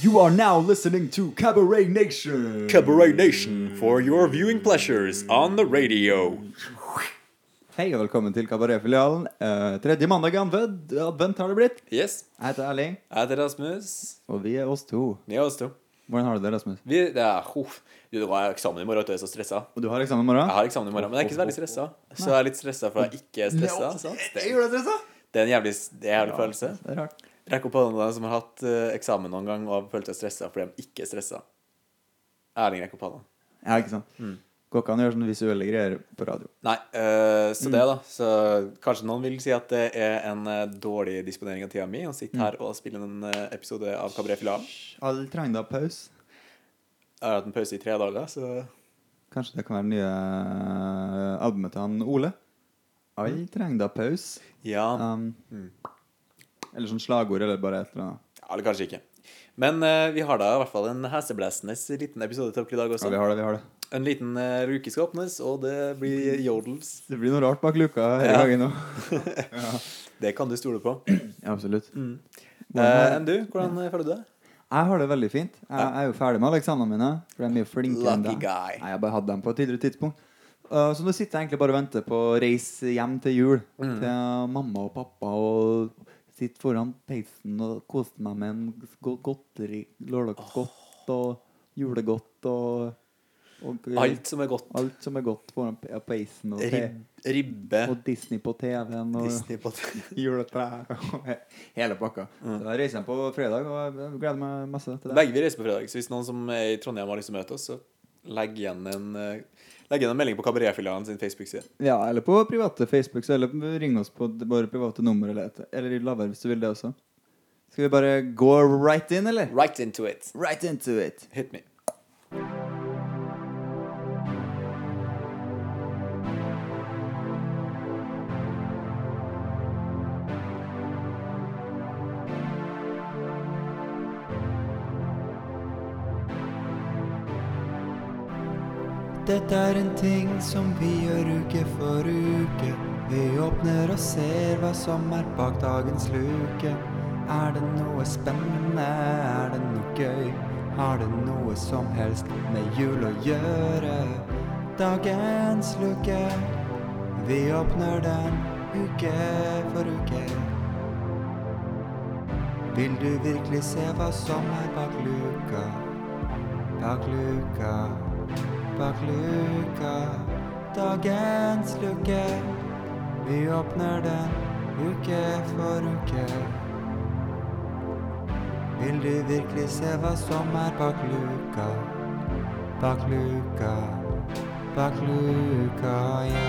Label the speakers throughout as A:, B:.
A: You are now listening to Cabaret Nation.
B: Cabaret Nation for your viewing pleasures on the radio.
A: Hei og velkommen til Kabaretfilialen. Eh, tredje mandag i advent, advent har det blitt.
B: Yes,
A: Jeg heter Erling,
B: jeg heter Rasmus.
A: og vi er oss to.
B: Ja, oss to.
A: Hvordan har du det, Rasmus?
B: Vi, det er, huff. Du, det var eksamen i morgen, vet du jeg er så stressa.
A: Og du har eksamen i morgen?
B: Jeg har eksamen i morgen, men jeg er ikke så veldig stressa. Så jeg er litt stressa for jeg ikke er stressa. sant? Det,
A: Gjør du det, stressa?
B: det er en jævlig, det er en jævlig følelse.
A: Det er rart.
B: Rekk opp hånda deg som har hatt eh, eksamen noen gang og har følt seg stressa fordi de ikke er stressa. Erling, rekk opp hånda.
A: Ja, ikke sant?
B: Mm.
A: Går ikke an å gjøre sånne visuelle greier på radio.
B: Nei, eh, så det, da. Så kanskje noen vil si at det er en eh, dårlig disponering av tida mi å sitte her og spille en eh, episode av Kabaret Filan.
A: Alle trenger da pause.
B: Jeg har hatt en pause i tre dager, så
A: Kanskje det kan være det nye albumet til han Ole? Alle trenger da pause.
B: ja.
A: Um,
B: Mm.
A: Eller sånn slagord, eller bare et eller annet.
B: ja Eller kanskje ikke. Men eh, vi har da i hvert fall en heseblesende liten episode til dere i dag
A: Ja,
B: også.
A: vi har det, vi har det.
B: En liten eh, luke skal åpnes, og det blir yodels.
A: Det blir noe rart bak luka hele
B: Ja.
A: gangen nå.
B: Det kan du stole på.
A: Ja, absolutt.
B: Eh, enn du, hvordan eh, føler du det?
A: Mm. Jeg har det veldig fint. Jeg, jeg er jo ferdig med alle eksamene mine. For jeg er mye flinkere enn
B: Lucky
A: deg.
B: guy.
A: Nei, Jeg bare hadde dem på et tidligere tidspunkt. Uh, så nå sitter jeg egentlig bare og venter på å reise hjem til jul.
B: Mm.
A: Til mamma og pappa og sitte foran peisen og kose meg med en go- godteri, lørdagsgodt og julegodt og, og
B: Alt som er godt.
A: alt som er godt foran pe- ja, peisen og, te,
B: Rib, ribbe,
A: og Disney på TV-en. Og,
B: Disney på TV.
A: Juletre og hele pakka. Så jeg reiser hjem på fredag, og jeg gleder meg masse til det.
B: Begge vi reiser på fredag, så hvis noen som er i Trondheim har lyst til å møte oss, så legg igjen en, eh, legg igjen en melding på Kabaretfilialen sin Facebook-side.
A: Ja, Eller på private Facebook, så eller ring oss på våre private nummer, eller, et- eller la være hvis du vil det også. Skal vi bare gå right in, eller?
B: Right into it.
A: Right into it.
B: Hit me.
A: Dette er en ting som vi gjør uke for uke. Vi åpner og ser hva som er bak dagens luke. Er det noe spennende? Er det noe gøy? Har det noe som helst med jul å gjøre? Dagens luke, vi åpner den uke for uke. Vil du virkelig se hva som er bak luka? Bak luka, bak luka, dagens luke. Vi åpner den uke for uke. Vil du virkelig se hva som er bak luka? Bak luka, bak luka, ja.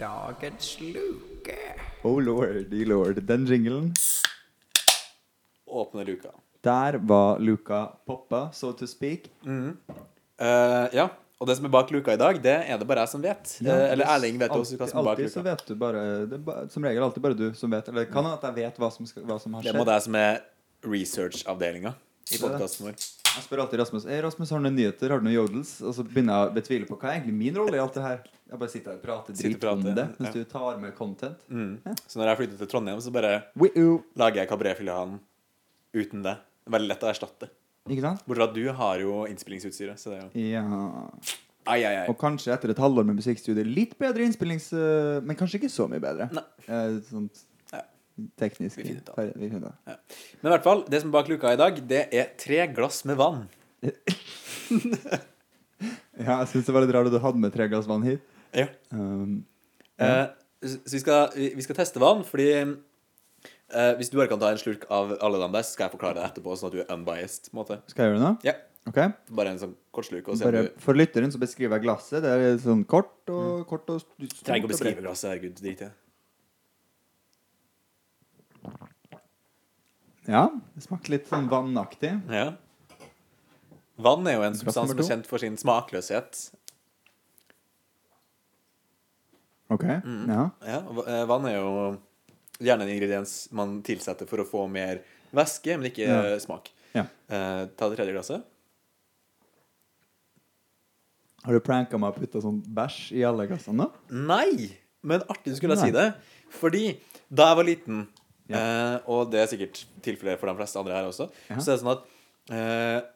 C: Dagens luke.
A: Oh lord, de lord. Den jinglen
B: Åpne luka.
A: Der var luka poppa, so to speak.
B: Eh, ja, og det som er bak luka i dag, det er det bare jeg som vet. Eh, eller Erling vet også hva som er bak
A: Alltid så
B: luka.
A: vet du bare det er ba- Som regel alltid bare du som vet. Eller det kan hende at jeg vet hva som, skal, hva som har
B: Mm. Det
A: skjedd.
B: må deg som er researchavdelinga
A: Så
B: i
A: det.
B: podkasten vår.
A: Jeg spør alltid Rasmus «Hey, Rasmus, har du noen nyheter, har du noen jodels? Og så begynner jeg å betvile på hva er egentlig min rolle i alt det her. Jeg bare sitter her og prater
B: Sitter og
A: drit om
B: prater,
A: det
B: ja.
A: mens du tar med content.
B: Mm. Så når jeg flytter til Trondheim, så bare
A: Wii-oo.
B: lager jeg Kabaretfilialen uten det. Veldig lett å erstatte.
A: Ikke sant?
B: Bortsett fra at du har jo innspillingsutstyret, så det er jo
A: Ja
B: Ai, ai, ai.
A: Og kanskje etter et halvår med musikkstudie litt bedre innspillings... øh, Men kanskje ikke så mye bedre.
B: Nei.
A: Eh, sånt
B: Ja.
A: teknisk.
B: Vi finner ut av
A: Fer- vi finner ut av det.
B: Ja. Men i hvert fall, det som er bak luka i dag, det er tre glass med vann.
A: Ja, jeg syns det var litt rart at du hadde med tre glass vann hit.
B: Ja.
A: Um,
B: Eh, så så vi skal, vi vi skal teste vann, fordi eh, hvis du bare kan ta en slurk av alle dem der, så skal jeg forklare det etterpå, sånn at du er unbiased. på en måte.
A: skal jeg gjøre det nå?
B: Ja,
A: Ok?
B: Bare en sånn kort slurk. Og se om
A: Bare
B: du Mm.
A: for lytteren så beskriver jeg glasset. Det er sånn kort og kort og st- stort. og bredt.
B: trenger ikke å beskrive glasset. Herregud, drit i det.
A: Ja, det smakte litt sånn vannaktig.
B: Ja. Vann er jo en substans
A: nummer to.
B: som er kjent for sin smakløshet.
A: Ok, ja.
B: Mm. Ja, og va- eh, vann er jo gjerne en ingrediens man tilsetter for å få mer Væske, men ikke
A: Ja.
B: eh, smak.
A: Ja.
B: Eh, ta det tredje glasset.
A: Har du pranka meg og putta sånn bæsj i alle glassene?
B: Nei! Men artig du skulle
A: Nei.
B: si det. Fordi da jeg var liten,
A: Ja.
B: eh, og det er sikkert tilfellet for de fleste andre her også,
A: Ja.
B: så er det sånn at eh,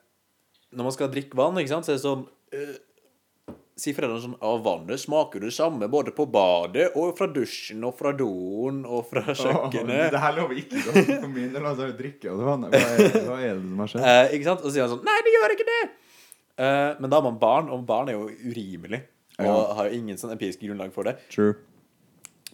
B: når man skal drikke vann, ikke sant, så er det sånn eh, Sier foreldrene sånn Av vannet smaker det samme både på badet og fra dusjen og fra doen og fra
A: Åh,
B: kjøkkenet.
A: det her lover ikke godt for min del. Altså, jeg drikker jo det vannet. Hva er, hva er det som har skjedd?
B: Eh, ikke sant? Og så sier han sånn Nei, det gjør ikke det! Eh, men da er man barn, og barn er jo urimelig. Og
A: Ja.
B: har jo ingen sånn empirisk grunnlag for det.
A: True.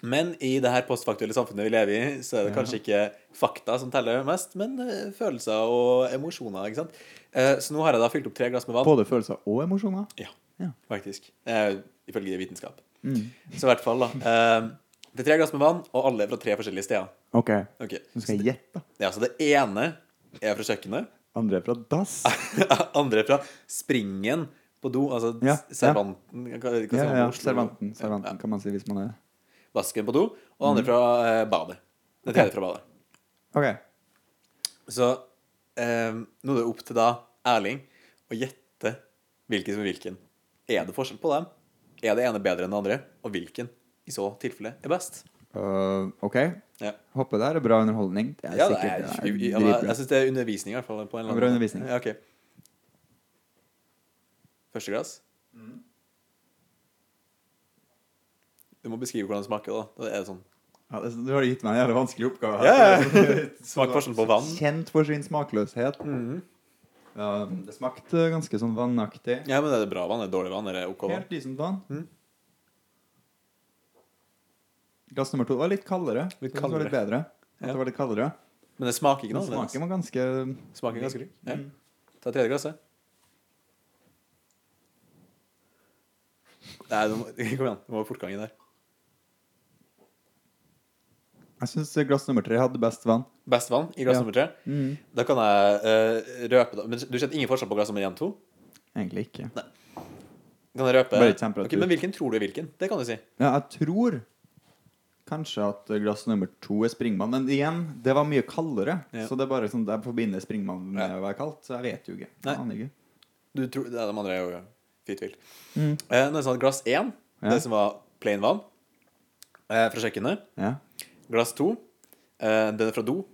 B: Men i det her postfaktuelle samfunnet vi lever i, så er det kanskje ikke fakta som teller mest, men eh, følelser og emosjoner. ikke sant? Eh, Så nå har jeg da fylt opp tre glass med vann.
A: Både følelser og emosjoner.
B: Ja,
A: Ja. Mm.
B: faktisk. Eh, Ifølge vitenskap. Så i hvert fall, da. eh, Det er tre glass med vann, og alle er fra tre forskjellige steder.
A: OK,
B: Ok.
A: nå skal jeg gjette. da.
B: Ja, Så det ene er fra kjøkkenet.
A: Andre er fra dass.
B: Ah, Andre er fra springen på do, altså
A: Ja,
B: s- servanten hva-
A: Ja,
B: hva sier man på
A: ja,
B: Oslo?
A: servanten, servanten Mm.
B: sånn Ja,
A: kan man si hvis man er
B: Vasken på do, og andre fra eh, badet. Det tredje fra badet.
A: OK.
B: Så eh, nå er det opp til da Erling å gjette hvilken som er hvilken. Er det forskjell på dem? Er det ene bedre enn det andre? Og hvilken i så tilfelle er best?
A: Uh, OK.
B: Ja.
A: Håper det her er bra underholdning. Det er
B: Ja, altså- det er,
A: sikkert
B: jeg,
A: det er
B: jeg,
A: dritbra.
B: jeg syns det er undervisning, i hvert fall. På en eller annen
A: Bra
B: måte.
A: undervisning.
B: Ja, ok. Første glass. Du må beskrive hvordan det smaker. da. Da er det sånn
A: Ja, det, du har gitt meg en jævla vanskelig oppgave. her.
B: Ja, ja. Smak forskjell på vann.
A: Kjent for sin smakløshet. Ja, det smakte ganske sånn vannaktig.
B: Ja, men Er det bra vann? Er det dårlig vann? Er det OK vann? Mm.
A: Helt decent vann. Glass nummer to var litt kaldere.
B: Litt
A: Jeg synes Det var litt bedre. At
B: Ja.
A: det var litt kaldere.
B: Men det smaker ikke
A: Men
B: noe annerledes.
A: smaken var ganske
B: Smaker ganske lik. Ja. Ta tredje glasset. Nei, du må, kom igjen. Du må ha fortgang i der.
A: Jeg syns glass nummer tre hadde best vann.
B: Best vann i glass
A: Ja.
B: nummer tre. Da kan jeg eh, røpe da. Men du kjente ingen forskjell på glass nummer én og to?
A: Egentlig ikke.
B: Kan jeg røpe?
A: Bare temperatur.
B: Ok, men hvilken tror du er hvilken? Det kan du si.
A: Ja, jeg tror kanskje at glass nummer to er springvann. Men igjen, det var mye kaldere.
B: Ja.
A: Så det er bare sånn, jeg forbinder springvann med
B: Ja.
A: å være kaldt. Så jeg vet jo ikke.
B: Nei.
A: Jeg aner ikke.
B: Du tror, det er de andre er jo fritt vilt. Mm. Eh, nå er det sånn at glass én,
A: Ja.
B: det som var plain vann eh, fra kjøkkenet.
A: Ja.
B: Glass to, eh, den er fra do.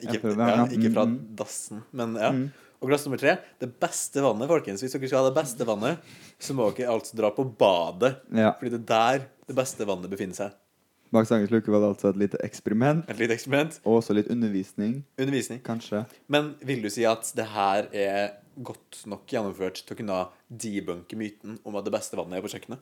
B: Ikke,
A: Jeg prøver,
B: ja,
A: ja.
B: ikke fra
A: Mm,
B: dassen, men ja. Og glass nummer tre, det beste vannet, folkens. Hvis dere skal ha det beste vannet, så må dere altså dra på badet.
A: Ja.
B: Fordi det er der det beste vannet befinner seg.
A: Bak sangens luke var det altså et lite eksperiment.
B: Et lite eksperiment.
A: Og også litt undervisning,
B: Undervisning.
A: kanskje.
B: Men vil du si at det her er godt nok gjennomført til å kunne debunke myten om at det beste vannet er på kjøkkenet?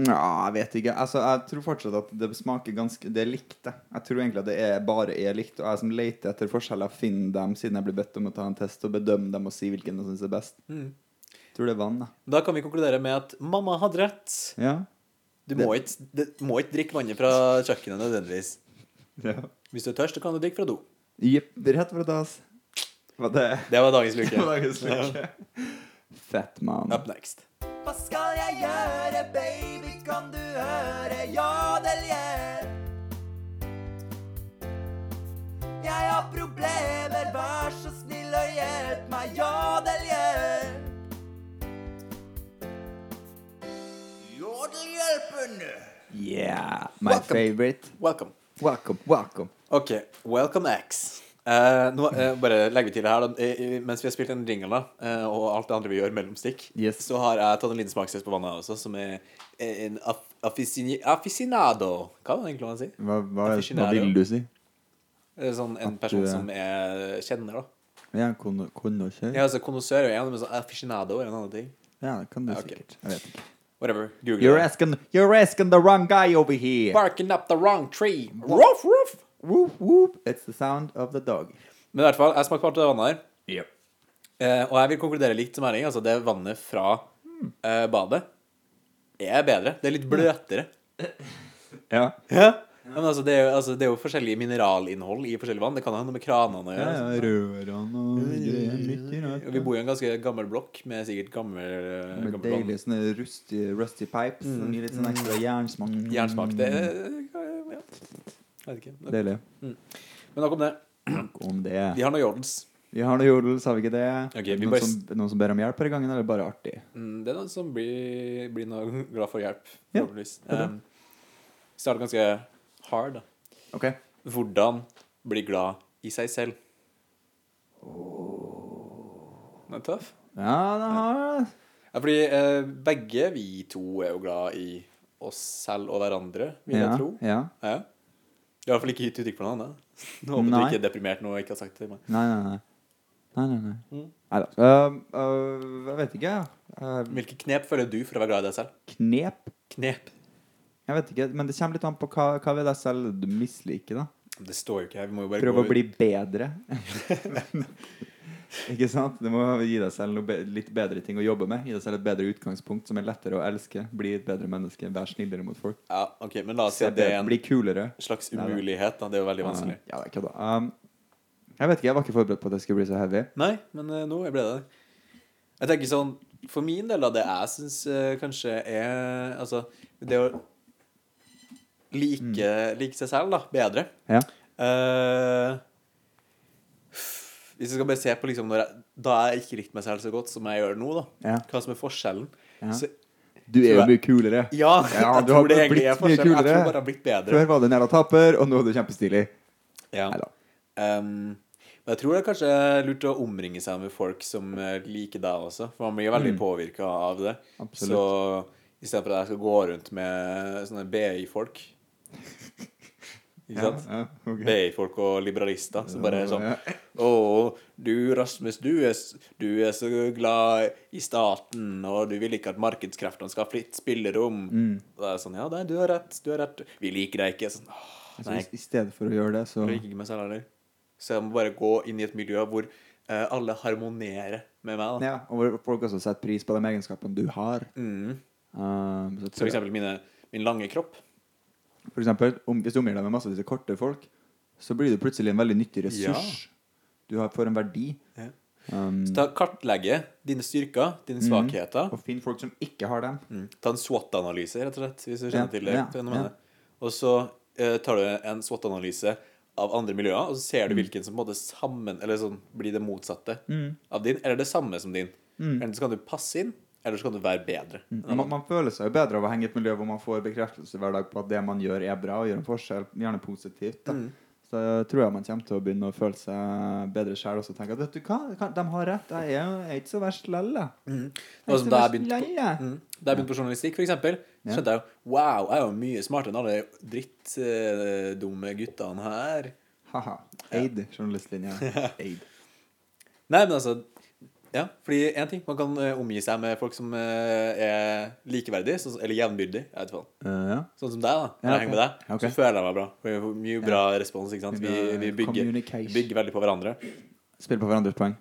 A: Nja, jeg vet ikke. Altså, jeg tror fortsatt at det smaker ganske Det er likt, det. Jeg tror egentlig at det er, bare er likt. Og jeg som leter etter forskjeller, finner dem siden jeg blir bedt om å ta en test og bedømme dem og si hvilken jeg syns er best.
B: Mm.
A: Jeg tror det er vann, da.
B: Da kan vi konkludere med at mamma hadde rett.
A: Ja.
B: Du må ikke, du må ikke drikke vannet fra kjøkkenet nødvendigvis.
A: ja.
B: Hvis du er tørst, så kan du drikke fra do.
A: Jepp, rett fra dass. Var det
B: Det var dagens luke.
A: Det var dagens luke. Fett, mann.
B: Up next.
C: Hva skal jeg gjøre, baby, kan du høre? Jodeljel. Jeg har problemer, vær så snill og hjelp meg, jodeljel. Jodelhjelpen.
A: Yeah. My
B: Welcome.
A: favorite.
B: Welcome.
A: Welcome, welcome.
B: Ok, welcome X. Eh, nå eh, bare legger vi til det her da. Eh, eh, Mens vi har spilt den jingle da, eh, og alt det andre vi gjør mellom stikk,
A: Yes.
B: så har jeg tatt en liten smakstest på vannet her også, som er eh, en af- afficini- afficinado. Hva var er det egentlig han sier?
A: Hva, hva, hva
B: Aficionado.
A: vil du si?
B: Eh, Sånn en
A: At
B: person
A: du er-
B: som jeg kjenner da.
A: Ja, kunne, kunne og kjøre?
B: Ja, altså konnoisseur er jo en, men sånn afficinado er en annen ting.
A: Ja, det kan du
B: ok.
A: sikkert. Jeg vet ikke.
B: Whatever, google
A: You're
B: det.
A: asking, you're asking the wrong guy over here.
B: Barking up the wrong tree. Ruff, ruff.
A: Whoop, whoop. It's the sound of the dog.
B: Men i hvert fall, jeg smakte på alt det vannet her. Eh, og jeg vil konkludere likt som Erling. Altså, det vannet fra eh, badet er bedre. Det er litt bløtere.
A: Ja.
B: Ja. Men altså, det er, jo, altså, det er jo forskjellig mineralinnhold i forskjellige vann. Det kan ha noe med kranene å
A: Ja,
B: gjøre.
A: ja, rørene og greier. Mye
B: sant?
A: rart.
B: Og Vi bor i en ganske gammel blokk med sikkert gammel, eh,
A: Med
B: gammel vann.
A: deilig sånne rusty, rusty pipes som gir litt
B: Mm,
A: sånn ekstra jernsmak. Mm,
B: Jernsmak. Det er ja. Jeg vet ikke.
A: Deilig.
B: Men nok om det.
A: Nok om det.
B: Vi har noen jordens.
A: Vi har noe jodel, sa vi ikke det?
B: Ok, vi
A: noen,
B: bare-
A: som, noen som ber om hjelp denne gangen, eller bare artig?
B: Mm, Det er noen som blir, blir noe glad for hjelp,
A: Ja,
B: forhåpentligvis. Eh,
A: det er det.
B: Em, Starter ganske hard. da.
A: Ok.
B: Hvordan bli glad i seg selv. Den er tøff.
A: Ja, det har
B: Ja, fordi eh, begge vi to er jo glad i oss selv og hverandre, vil
A: ja,
B: jeg tro.
A: ja.
B: Ja. Du har i hvert fall ikke gitt uttrykk for noe annet. Nå håper
A: Nei.
B: du ikke er deprimert nå og ikke har sagt det. Men.
A: Nei, nei, nei. Nei, nei, nei.
B: Mm.
A: Neida. Øhm, øh, jeg vet ikke. Uh,
B: Hvilke knep føler du for å være glad i deg selv?
A: knep?
B: Knep?
A: Jeg vet ikke, men det kommer litt an på hva, hva ved deg selv du misliker, da.
B: Det står jo ikke her. Vi må jo bare
A: Prøv å
B: gå-
A: bli bedre. ikke sant? Du må gi deg selv noe be litt bedre ting å jobbe med. Gi deg selv et bedre utgangspunkt som er lettere å elske. Bli et bedre menneske. Vær snillere mot folk.
B: Ja, ok, Men la oss si
A: Se
B: at det er
A: bedre.
B: en
A: Bli kulere.
B: slags
A: Nei, nei.
B: umulighet. da. Det er jo veldig vanskelig.
A: Ja, det er ikke da. Um, jeg vet ikke, jeg var ikke forberedt på at det skulle bli så heavy.
B: Nei, men eh, nå ble det det. Jeg tenker sånn, For min del av det jeg syns kanskje er Altså, det å like,
A: Mm.
B: like seg selv da, bedre
A: Ja.
B: Eh, Hvis jeg skal bare se på liksom når jeg, Da jeg ikke likte meg selv så godt som jeg gjør nå, da,
A: Ja.
B: hva som er forskjellen
A: Ja.
B: Så,
A: Du er jo
B: Tror
A: mye
B: jeg-
A: kulere.
B: ja,
A: Ja,
B: jeg
A: du har
B: tror det egentlig
A: blitt
B: er
A: mye
B: forskjellen. Jeg tror
A: kulere.
B: bare jeg har blitt bedre.
A: Før var du en jævla taper, og nå er du kjempestilig.
B: Ja.
A: Neida.
B: Ehm, men jeg tror det er kanskje lurt å omringe seg med folk som eh, liker deg også, for man blir jo veldig påvirka av det.
A: Mm. Absolutt.
B: Så istedenfor at jeg skal gå rundt med sånne BI-folk Ikke sant?
A: Ja, ja, ok.
B: BI-folk og liberalister som bare er sånn
A: Ja.
B: Å, du Rasmus, du er, s- du er så glad i staten, og du vil ikke at markedskreftene skal ha fritt spillerom.
A: Mm.
B: Og det er sånn Ja, nei, du har rett, du har rett. Vi liker deg ikke. Sånn, åh,
A: Altså,
B: nei,
A: i- I stedet for å gjøre det, så
B: jeg liker ikke meg selv heller. Så jeg må bare gå inn i et miljø hvor eh, alle harmonerer med meg. Da.
A: ja, Og hvor folk også setter pris på de egenskapene du har.
B: Mm.
A: Um, så
B: Så for
A: tror jeg-
B: eksempel mine, min lange kropp.
A: for eksempel om, hvis du omgir deg med masse av disse korte folk, så blir du plutselig en veldig nyttig ressurs. Du har, får en verdi. Um,
B: Så ta Kartlegge dine styrker, dine svakheter.
A: Mm. og finn folk som ikke har dem.
B: Mm. Ta en SWOT-analyse, rett og slett, hvis du
A: Ja,
B: kjenner til det
A: ja,
B: fenomenet. Og så eh, tar du en SWOT-analyse av andre miljøer, og så ser du
A: Mm.
B: hvilken som på en måte sammen, eller sånn, blir det motsatte av din, eller det samme som din.
A: Mm.
B: Enten så kan du passe inn, eller så kan du være bedre.
A: Man, man føler seg jo bedre av å henge i et miljø hvor man får bekreftelse hver dag på at det man gjør, er bra og gjør en forskjell, gjerne positivt. Da.
B: Mm.
A: Så tror jeg man kommer til å begynne å føle seg bedre sjøl og så tenke at vet du hva, Kan- de har rett, jeg er, jo- jeg er ikke så verst lelle.
B: Mm. Det var som da jeg begynte på,
A: Lalla.
B: mm, da jeg begynte på journalistikk, for eksempel, så skjønte jeg jo Wow, jeg er jo mye smartere enn alle drittdumme guttene her.
A: Haha. Eid, journalistlinja. Eid.
B: Nei, men altså Ja, fordi én ting Man kan eh, omgi seg med folk som eh, er likeverdige, sånn, som- eller jevnbyrdige. Jeg vet ikke hva.
A: Eh, ja.
B: Sånn som deg, da. Når
A: Ja,
B: jeg
A: ok.
B: henger med deg,
A: Ja, ok.
B: så føler jeg meg bra. Vi får mye bra respons, ikke sant.
A: Mye
B: Vi,
A: bra
B: vi bygger,
A: communication.
B: bygger veldig på hverandre.
A: Spiller på hverandres poeng.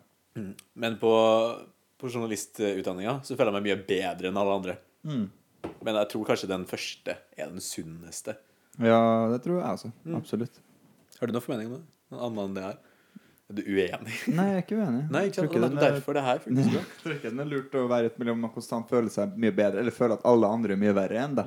B: Men på, på journalistutdanninga så føler jeg meg mye bedre enn alle andre. Men jeg tror kanskje den første er den sunneste.
A: Ja, det tror jeg også.
B: Mm.
A: Absolutt.
B: Har du noen formening om det? Noen annen enn det her? Er du uenig?
A: Nei, jeg er ikke uenig.
B: Nei, ikke sant?
A: Tror
B: Det
A: den
B: er
A: er- Mm.
B: derfor det her funker så bra.
A: Jeg tror ikke den er lurt å være i et miljø hvor man konstant føler seg mye bedre, eller føler at alle andre er mye verre enn
B: Mm.
A: deg.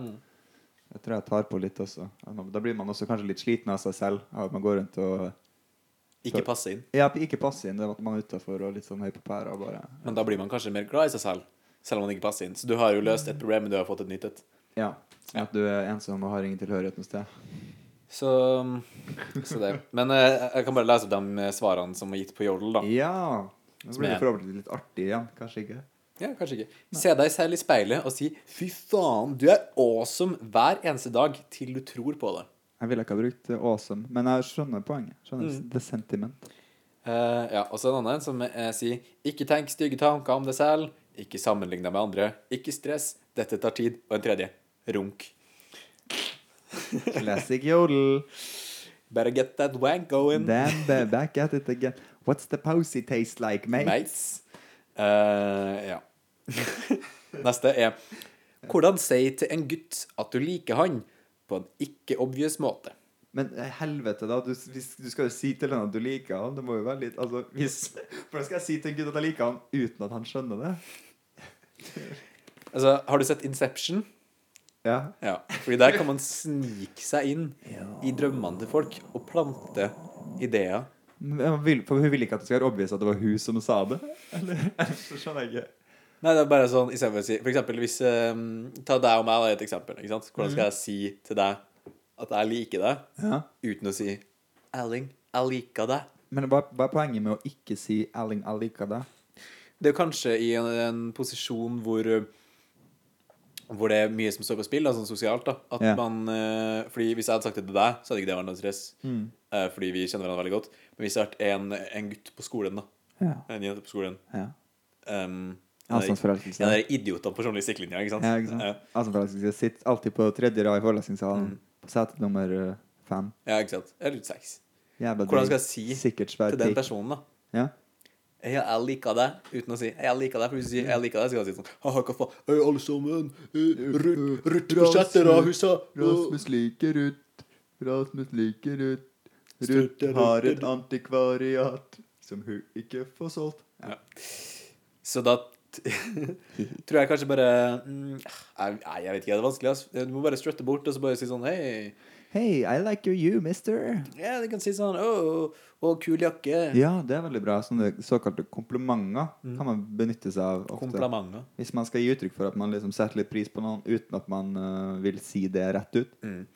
A: Jeg tror jeg tar på litt også. At man- Da blir man også kanskje litt sliten av seg selv. Av at man går rundt og
B: Ikke passe inn.
A: ja, ikke passer inn. det er At man er utafor og litt sånn høy på pæra. og Bare
B: Men da blir man kanskje mer glad i seg selv, selv om man ikke passer inn. Så du har jo løst et problem, men du har fått et nytt et.
A: Ja. Sånn at du er ensom og har ingen tilhørighet noe sted.
B: Så, så det. Men eh, jeg kan bare lese opp de svarene som er gitt på Jodel, da.
A: Ja! Nå blir det
B: Men-
A: forhåpentlig litt artig igjen. Kanskje ikke?
B: Ja, kanskje ikke. Se deg selv i speilet og si 'fy faen, du er awesome' hver eneste dag til du tror på det.
A: Jeg ville ikke ha brukt eh, awesome, men jeg skjønner poenget. Skjønner
B: Mm.
A: the sentiment.
B: Eh, ja, og så en annen som eh, sier 'ikke tenk stygge tanker om deg selv', 'ikke sammenlign deg med andre', 'ikke stress', 'dette tar tid', og en tredje 'runk'.
A: Classic yodel.
B: Better get that wank going.
A: Damn, ba- back at it again. What's the posy taste like, mate?
B: Meis. Eh, ja. Neste er Hvordan si til en gutt at du liker han på en ikke-obvious måte?
A: Men eh, helvete, da. Du, hvis, du skal jo si til henne at du liker han. Det må jo være litt Altså, hvis Hvordan skal jeg si til en gutt at jeg liker han uten at han skjønner det?
B: Altså, har du sett Inception?
A: Ja.
B: Ja, fordi der kan man snike seg inn i drømmene til folk og plante ideer
A: Men vil- For hun vil ikke at det skal være obvious at det var hun som sa det. Eller, så skjønner jeg ikke.
B: Nei, det er bare sånn, i stedet for å si For eksempel hvis eh, Ta deg og meg, da, er et eksempel. Ikke sant? Hvordan skal jeg si til deg at jeg liker deg,
A: Mm. Ja.
B: uten å si 'Erling, jeg liker deg'?
A: Men hva, hva er poenget med å ikke si 'Erling, jeg liker deg'?
B: Det er jo kanskje i en, en posisjon hvor eh, hvor det er mye som står på spill, da, sånn sosialt. da At
A: Ja.
B: man, eh, fordi Hvis jeg hadde sagt det til deg, så hadde ikke det vært noe stress.
A: Mm.
B: Eh, fordi vi kjenner hverandre veldig godt. Men hvis det hadde vært en, en gutt på skolen, da
A: Ja.
B: en jente på skolen
A: ja.
B: um,
A: Avstandsforelskelse.
B: Ja, det er idioter på journalistikklinja, ikke sant?
A: Ja, ikke sant?
B: Ja.
A: Altså, forelskelse sitter alltid på tredje rad i forelesningssalen.
B: Mm.
A: På sete nummer ø, fem.
B: Ja, ikke sant? Eller sex.
A: Jævla
B: Hvordan skal
A: dritt.
B: jeg si
A: Sikkert svær
B: til den
A: pikk.
B: personen, da?
A: Ja.
B: «Hei, jeg liker deg, uten å si 'jeg liker deg'. For hvis du sier 'jeg liker deg', så kan du si sånn «Haha, hva faen? Hei, alle sammen. Rutt på setter av husa.
A: Rasmus liker Ruth. Rasmus liker Ruth. Ruth har et antikvariat som hun ikke får solgt.
B: Så da t- tror jeg kanskje bare mm, jeg- Nei, jeg vet ikke. Det er vanskelig. ass. Du må bare strutte bort og så bare si sånn 'hei'.
A: Hei, I like your you, mister.
B: Ja, du kan si sånn 'å, å, kul jakke'.
A: Ja, det er veldig bra. Sånne såkalte komplimenter kan man benytte seg av ofte.
B: Komplimenter.
A: Hvis man skal gi uttrykk for at man liksom setter litt pris på noen uten at man ø, vil si det rett ut.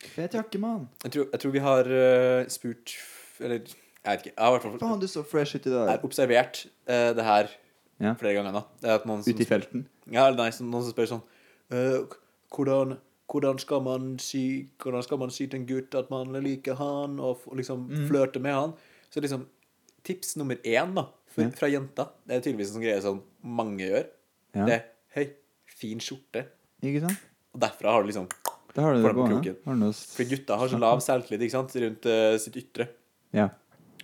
A: Fet jakke, mann.
B: Jeg tror, jeg tror vi har eh, spurt Eller jeg vet ikke. Jeg har i hvert fall
A: Faen, du så fresh ut i
B: jeg har
A: dag.
B: observert eh, det her
A: Ja.
B: flere ganger nå. Det er at noen som
A: Ute i felten.
B: Ja, eller nei, som noen som spør sånn «Eh, k- hvordan, hvordan, skal man si, hvordan skal man si til en gutt at man liker han, og, f- og liksom
A: Mm.
B: flørte med han? Så liksom, tips nummer én da, for,
A: Ja.
B: fra jenta, det er tydeligvis en sånn greie som mange gjør,
A: Ja.
B: det er «Hei, fin skjorte».
A: Ikke sant?
B: Og derfra har du liksom
A: Da har du
B: Får
A: det
B: den på
A: gående.
B: kroken.
A: Har du noe s-
B: For gutta har så lav selvtillit, ikke sant, rundt eh, sitt ytre.
A: Ja.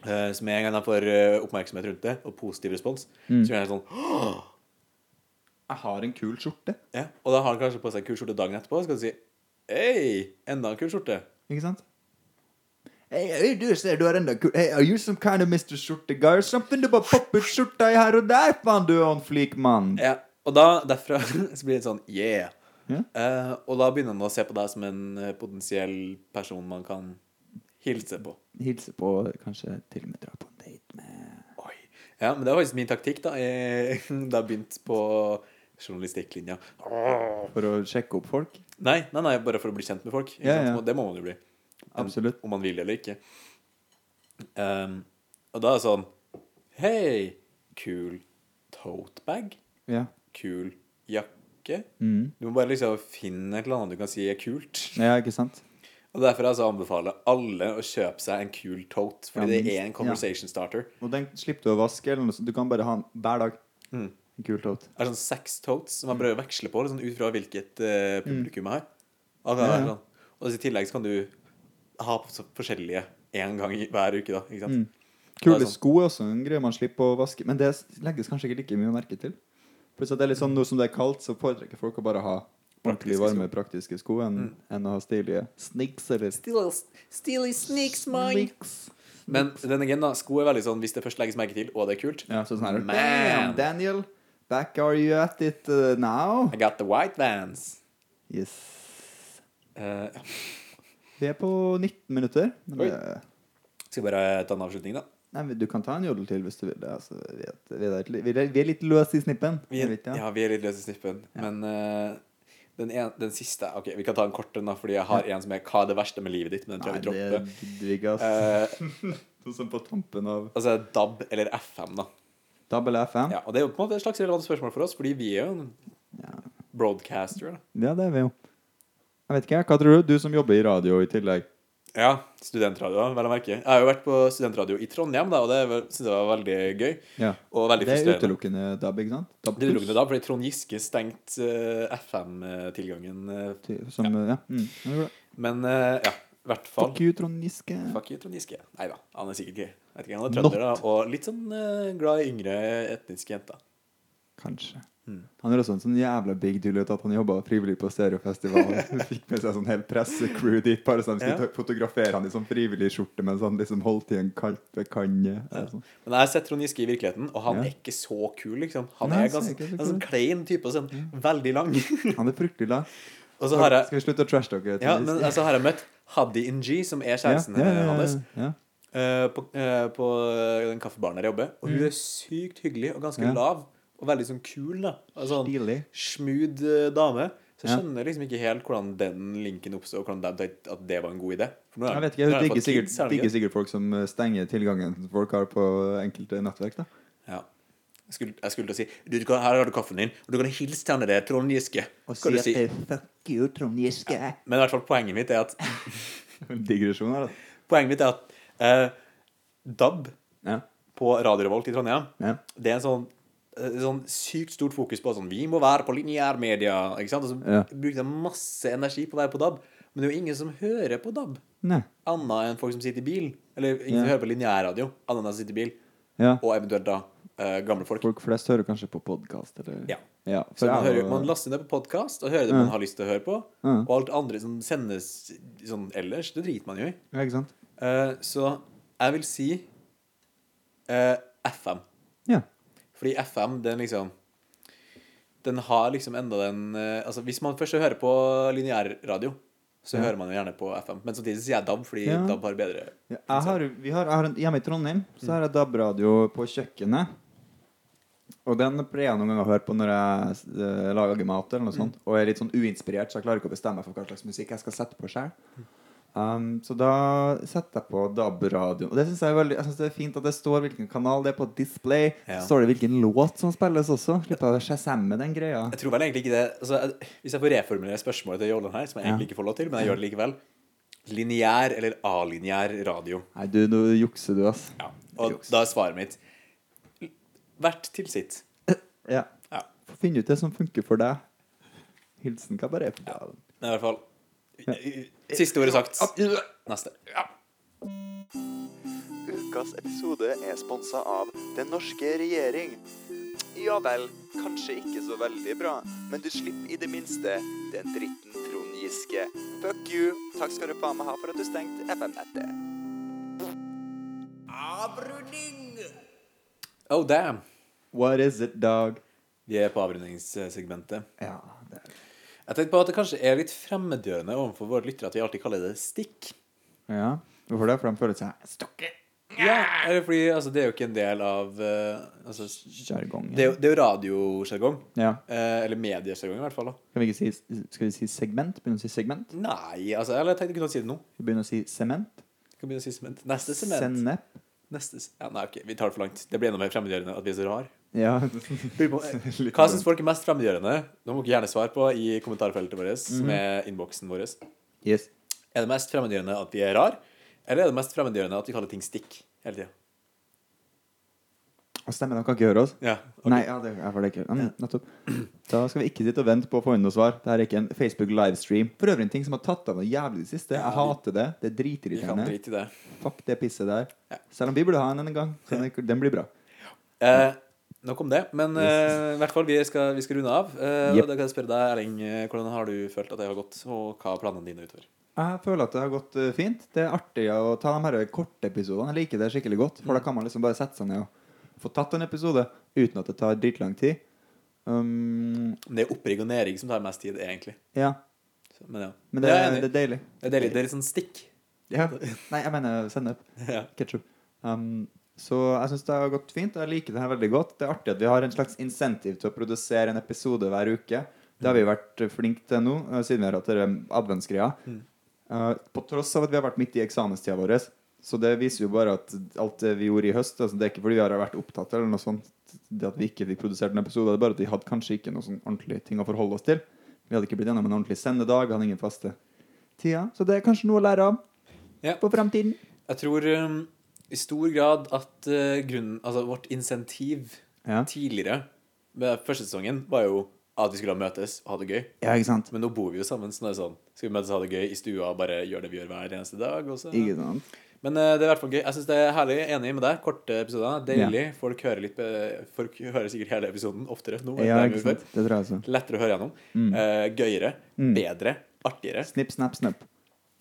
B: Eh, så med en gang de får eh, oppmerksomhet rundt det, og positiv respons,
A: Mm.
B: så gjør de sånn
A: Jeg har en kul skjorte.
B: Ja, og da har han kanskje på seg kul skjorte dagen etterpå, og så skal du si Hei, enda en kul skjorte.
A: Ikke sant? Hey, hey, du ser du har enda kul hey, Are you some kind of Mr. Skjorte guy or something? Du bare popper ut skjorta i her og der, faen, du er on fleek, mann.
B: Ja, og da, derfra så blir det sånn Yeah.
A: Ja.
B: Eh, og da begynner han å se på deg som en eh, potensiell person man kan hilse på.
A: Hilse på, kanskje til og med dra på en date med
B: Oi. Ja, men det var faktisk min taktikk da jeg, da jeg begynte på journalistikklinja.
A: For å sjekke opp folk.
B: Nei, nei, nei, bare for å bli kjent med folk. ikke
A: Ja,
B: sant?
A: ja.
B: Og Det må man jo bli. Men
A: Absolutt.
B: Om man vil det eller ikke. Ehm, og da er det sånn Hei, kul totebag.
A: Ja.
B: Kul jakke.
A: Mm.
B: Du må bare liksom finne et eller annet du kan si er kult.
A: ja, ikke sant?
B: Og Derfor altså anbefaler alle å kjøpe seg en kul tote,
A: Ja,
B: fordi det
A: minst-
B: er en conversation starter.
A: Og den slipper du å vaske, eller noe sånt. Du kan bare ha den hver dag.
B: Mm.
A: En kul tote.
B: Det er sånn seks totes som man prøver å veksle på liksom, ut fra hvilket eh, publikum jeg har. Og, da er det
A: Mm. Ja, ja.
B: sånn. og i tillegg så kan du ha på så forskjellige én gang i, hver uke, da. Ikke sant?
A: Mm. Kule
B: Det er sånn.
A: sko er også en greie man slipper å vaske, men det legges kanskje ikke like mye merke til. Plutselig at det er litt sånn, Nå som det er kaldt, så foretrekker folk å bare ha ordentlig
B: Praktiske Mm.
A: varme, praktiske sko enn enn å ha stilige snicks eller Snicks.
B: Men den igjen, da. Sko er veldig sånn hvis det først legges merke til, og det er kult.
A: Ja, så sånn her
B: Man.
A: Damn, Daniel, back are you at it uh, now?
B: I got the white vans.
A: Yes.
B: Eh,
A: Vi er på 19 minutter. Men
B: Oi.
A: det,
B: skal bare ta en avslutning, da.
A: nei, men du kan ta en jodel til hvis du vil det. Altså, vi, er, vi, er, litt- vi er- vi er litt løse i snippen.
B: Vi
A: jeg
B: er,
A: vet, ja.
B: ja, vi er litt løse i snippen. Men eh, den, en, den siste Ok, vi kan ta en kort en, da, fordi jeg har en som er 'Hva er det verste med livet ditt?' Men den
A: Nei,
B: tror jeg vi
A: det
B: dropper.
A: digger ass.
B: Eh,
A: altså. Sånn som på tampen av
B: altså DAB eller FM, da.
A: Double FM.
B: Ja, og det er jo på en måte et slags relevant spørsmål for oss, fordi vi er jo en broadcaster. Da.
A: Ja, det er vi jo. Jeg vet ikke, jeg. Hva tror du? Du som jobber i radio i tillegg.
B: Ja, studentradio, da, vel å merke. Jeg har jo vært på studentradio i Trondheim, da, og det syns jeg var veldig gøy.
A: Ja.
B: Og veldig
A: Det er
B: frustrerende.
A: utelukkende DAB, ikke sant? DAB
B: Det utelukkende da, fordi Trond Giske stengte eh, FM-tilgangen.
A: Til- Som, ja. Mm, det gjorde det.
B: eh, men eh, ja, i hvert fall
A: Fuck you, Trond Giske.
B: Fuck you, Trond Giske. Nei da, han er sikkert gøy. Jeg vet ikke, han er trønder da, og litt sånn eh, glad i yngre etniske jenter.
A: Kanskje.
B: Mm.
A: Han er også en sånn jævla big deal ut at han jobba frivillig på stereofestivalen. Han Fikk med seg sånn hel pressecrew dit bare så de skulle
B: Ja.
A: ta- fotografere han i sånn frivillig skjorte mens han liksom holdt i en kaldtbekanne. Sånn.
B: Men jeg har sett Trond Giske i virkeligheten, og han
A: Ja.
B: er ikke så kul, liksom. Han
A: Nei, han
B: er
A: ser
B: ganske
A: ikke så
B: en sånn
A: kul.
B: klein type, og sånn veldig lang.
A: Han er fryktelig lang.
B: og så har jeg
A: Skal vi slutte å trashtalke?
B: Ja, men altså, har jeg møtt Hadi Ng, som er
A: ja,
B: kjæresten
A: ja, ja, ja,
B: hans.
A: ja.
B: eh, på, eh, på den kaffebaren der jeg jobber. Og hun er sykt hyggelig og ganske
A: Mm. Ja.
B: lav. Og veldig sånn kul. da En Sånn
A: Stilig.
B: smooth eh, dame. Så jeg
A: Ja.
B: skjønner liksom ikke helt hvordan den linken oppstod, og hvordan de tenkte at det var en god idé. For nå er-
A: Jeg vet ikke,
B: nå er
A: Hun
B: det
A: digger
B: for
A: sikkert,
B: kids, er det ikke
A: digger sikkert folk som eh, stenger tilgangen folk har på enkelte nettverk. da
B: Ja. Jeg skulle, jeg skulle til å si du, du kan, Her har du kaffen din, og du kan hilse til han der Trond Giske. Skal du si.
A: fuck you, Trond Giske.
B: Men i hvert fall poenget mitt er at
A: Digresjon her, da.
B: Poenget mitt er at eh, DAB
A: Ja.
B: på Radio Revolt i Trondheim
A: Ja.
B: Det er en sånn, eh, sånn sykt stort fokus på sånn Vi må være på lineærmedia. Ikke sant? Og så
A: Ja.
B: bruker de masse energi på å være på DAB. Men det er jo ingen som hører på DAB,
A: Nei.
B: annet enn folk som sitter i bil. Eller ingen som
A: Ja.
B: hører på lineærradio, annet enn de som sitter i bil.
A: Ja.
B: Og eventuelt da eh, gamle folk.
A: Folk flest hører kanskje på podkast, eller
B: Ja.
A: for
B: Så man,
A: jeg
B: hører,
A: var-
B: man laster ned på podkast og hører det man har lyst til å høre på.
A: Ja.
B: Og alt andre som sendes sånn ellers, det driter man jo i.
A: ja, ikke sant?
B: Eh, så jeg vil si eh, FM.
A: Ja.
B: Fordi FM, den liksom Den har liksom enda den eh, Altså, hvis man først hører på lineærradio, så hører man jo gjerne på FM. Men samtidig så sier jeg DAB, fordi
A: Ja.
B: DAB har bedre
A: Ja, Jeg har, vi har, jeg har en, hjemme i Trondheim så har jeg DAB-radio på kjøkkenet. Og den pleier jeg noen ganger å høre på når jeg eh, lager mat, eller noe sånt og er litt sånn uinspirert, så jeg klarer ikke å bestemme meg for hva slags musikk jeg skal sette på sjøl. Um, så da setter jeg på DAB-radioen. Og det synes jeg, er veldig, jeg synes det er fint at det står hvilken kanal det er på display.
B: Ja.
A: Så står det hvilken låt som spilles også. Slipper å shazamme den greia.
B: Jeg tror vel egentlig ikke det altså, jeg- Hvis jeg får reformulere spørsmålet til Jolland her, som jeg egentlig ikke får lov til, men jeg gjør det likevel Lineær eller alineær radio.
A: Nei, du, nå jukser du, ass.
B: Ja. Og da er svaret mitt Hvert til sitt.
A: Ja.
B: Ja.
A: Få finne ut det som funker for deg. Hilsen kabaretpedalen.
B: Men i hvert fall Siste ordet sagt. Neste.
D: Ukas episode er sponsa av Den norske regjering. Ja vel, kanskje ikke så veldig bra, men du slipper i det minste den dritten Trond Giske. Fuck you. Takk skal du faen meg ha for at du stengte FM-nettet.
B: Oh damn.
A: What is it, dog?
B: Vi er på avrundingssegmentet.
A: Ja, det er
B: Jeg tenkte på at det kanskje er litt fremmedgjørende overfor våre lyttere at vi alltid kaller det stikk.
A: ja. Hvorfor det? For de føler seg stokke.
B: Ja, eller fordi altså, det er jo ikke en del av eh, altså,
A: Jargong.
B: Det er jo, det er jo radiosjargong.
A: Ja.
B: Eh, eller mediesjargong, i hvert fall. da.
A: Kan vi ikke si, skal vi si segment? Begynne å si segment?
B: Nei, altså Eller jeg tenkte vi kunne si det nå.
A: Vi begynner å si sement?
B: Vi kan begynne å si sement. Neste sement.
A: Sennep?
B: Neste s- ja, Nei, ok, vi tar det for langt. Det blir enda mer fremmedgjørende at vi er så rar.
A: Ja.
B: Lurer på, eh, Hva
A: Mm.
B: syns folk er mest fremmedgjørende? Det må dere gjerne svare på i kommentarfeltet vårt,
A: Mm.
B: som er innboksen vår.
A: Yes.
B: Er det mest fremmedgjørende at vi er rar, eller er det mest fremmedgjørende at vi kaller ting stikk hele tida?
A: Og stemmer, de kan ikke høre oss.
B: Ja, ok.
A: Nei, ja, det ja, for det er ikke ja, men Nettopp. Da skal vi ikke sitte og vente på å få inn noe svar. Dette er ikke en Facebook livestream. For øvrig en ting som har tatt av noe jævlig i det siste. Jeg hater det. Det er
B: Vi kan
A: dritirriterende.
B: drite i det.
A: Fuck det pisset der. Selv om vi burde ha en en gang. så den- Den blir bra.
B: Eh, nok om det. Men eh, i hvert fall, vi skal, vi skal runde av. Eh,
A: Jep.
B: Og da kan jeg spørre deg, Erling, eh, hvordan har du følt at det har gått, og hva er planene dine utover?
A: Jeg føler at det har gått eh, fint. Det er artig å ta de her korte episodene. Jeg liker det skikkelig godt. For da
B: Mm.
A: kan man liksom bare sette seg ned og få tatt en episode uten at det tar dritlang tid. Um,
B: Det er opprigg og nedrigg som tar mest tid, egentlig.
A: ja.
B: Så, men ja.
A: Men det,
B: Jeg
A: er,
B: enig.
A: det er deilig.
B: Det er deilig. Det er litt sånn stikk.
A: Ja. Nei, jeg mener sennep.
B: Ja.
A: Ketchup. Um, så jeg syns det har gått fint. Jeg liker det her veldig godt. Det er artig at vi har en slags insentiv til å produsere en episode hver uke. Det har vi vært flinke til nå, eh, siden vi har hatt denne adventsgreia. Eh, på tross av at vi har vært midt i eksamenstida vår. Så det viser jo bare at alt det vi gjorde i høst altså Det er ikke fordi vi har vært opptatt eller noe sånt Det at vi ikke fikk produsert en episode, det er bare at vi hadde kanskje ikke noe sånn ordentlig ting å forholde oss til. Vi hadde ikke blitt gjennom en ordentlig sendedag, vi hadde ingen faste tider. Så det er kanskje noe å lære av
B: Ja.
A: på framtiden.
B: Jeg tror um, i stor grad at eh, grunnen Altså vårt insentiv
A: Ja.
B: tidligere med første sesongen var jo at vi skulle møtes og ha det gøy.
A: Ja, ikke sant?
B: Men nå bor vi jo sammen, så nå er det sånn Skal vi møtes og ha det gøy i stua og bare gjøre det vi gjør hver eneste dag? Og så.
A: Ikke sant?
B: Men eh, det er i hvert fall gøy. Jeg syns det er herlig. Enig med deg. Korte episoder. Deilig. Folk hører litt eh, Folk hører sikkert hele episoden oftere nå. enn
A: Ja,
B: de
A: ikke
B: gjorde
A: sant? Mm.
B: før.
A: Det tror jeg også.
B: Lettere å høre gjennom. Eh, gøyere. Bedre. Artigere.
A: Snipp, snapp, snøpp.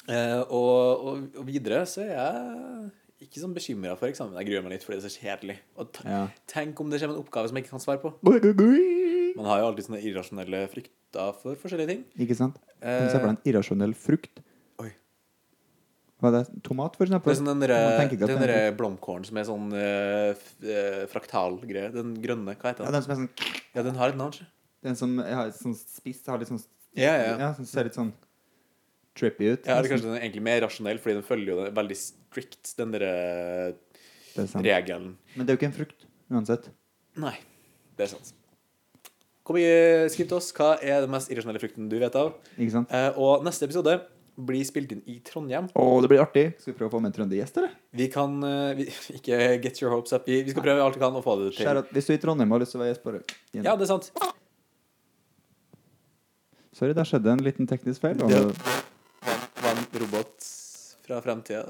B: Eh, og, og, og videre så er jeg ikke sånn bekymra for eksamen. Jeg gruer meg litt, fordi det er så kjedelig. Og t
A: Ja.
B: tenk om det kommer en oppgave som jeg ikke kan svare på.
A: Ikke
B: Man har jo alltid sånne irrasjonelle frykter for forskjellige ting. Eh.
A: sant? Kan du se for deg en irrasjonell frukt?
B: Oi.
A: Hva er det? Tomat, for eksempel?
B: Det er sånn den
A: Man
B: derre
A: tenker ikke at
B: den
A: det er
B: derre blomkålen som er sånn eh, f- eh, fraktalgreie. Den grønne, hva
A: Ja,
B: heter den?
A: den som er sånn
B: Ja, den har et navn, ikke
A: Den som har sånn spiss, har litt sånn
B: Ja, ja, ja.
A: som ser litt sånn trippy ut.
B: Ja, eller
A: nesten.
B: kanskje den er egentlig mer rasjonell, fordi den følger jo den veldig strict, den derre
A: Det er sant.
B: regelen.
A: Men det er jo ikke en frukt, uansett.
B: Nei, det er sant. Kom igjen, skriv til oss. Hva er den mest irrasjonelle frukten du vet av?
A: Ikke sant?
B: Eh, og neste episode blir spilt inn i Trondheim.
A: Å, det blir artig. Skal vi prøve å få med en trøndergjest, eller?
B: Vi kan eh, vi, Ikke get your hopes up. Vi, vi skal prøve alt vi kan å få det til.
A: Skjær at- Hvis du er i Trondheim og har lyst til å være gjest, bare gi en-
B: Ja, det er sant.
A: Sorry, der skjedde en liten teknisk feil. Og,
B: Det- Det var en robot fra fremtida.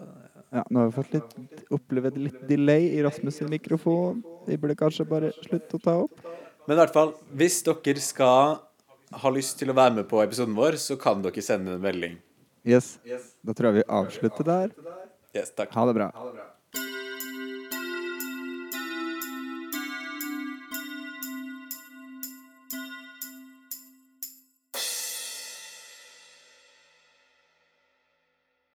A: ja, nå har vi fått litt, opplevd litt delay i Rasmus sin mikrofon. Vi burde kanskje bare slutte å ta opp.
B: Men i hvert fall, hvis dere skal ha lyst til å være med på episoden vår, så kan dere sende en melding.
A: Yes. Da tror jeg vi avslutter der.
B: Yes, takk.
A: Ha det bra.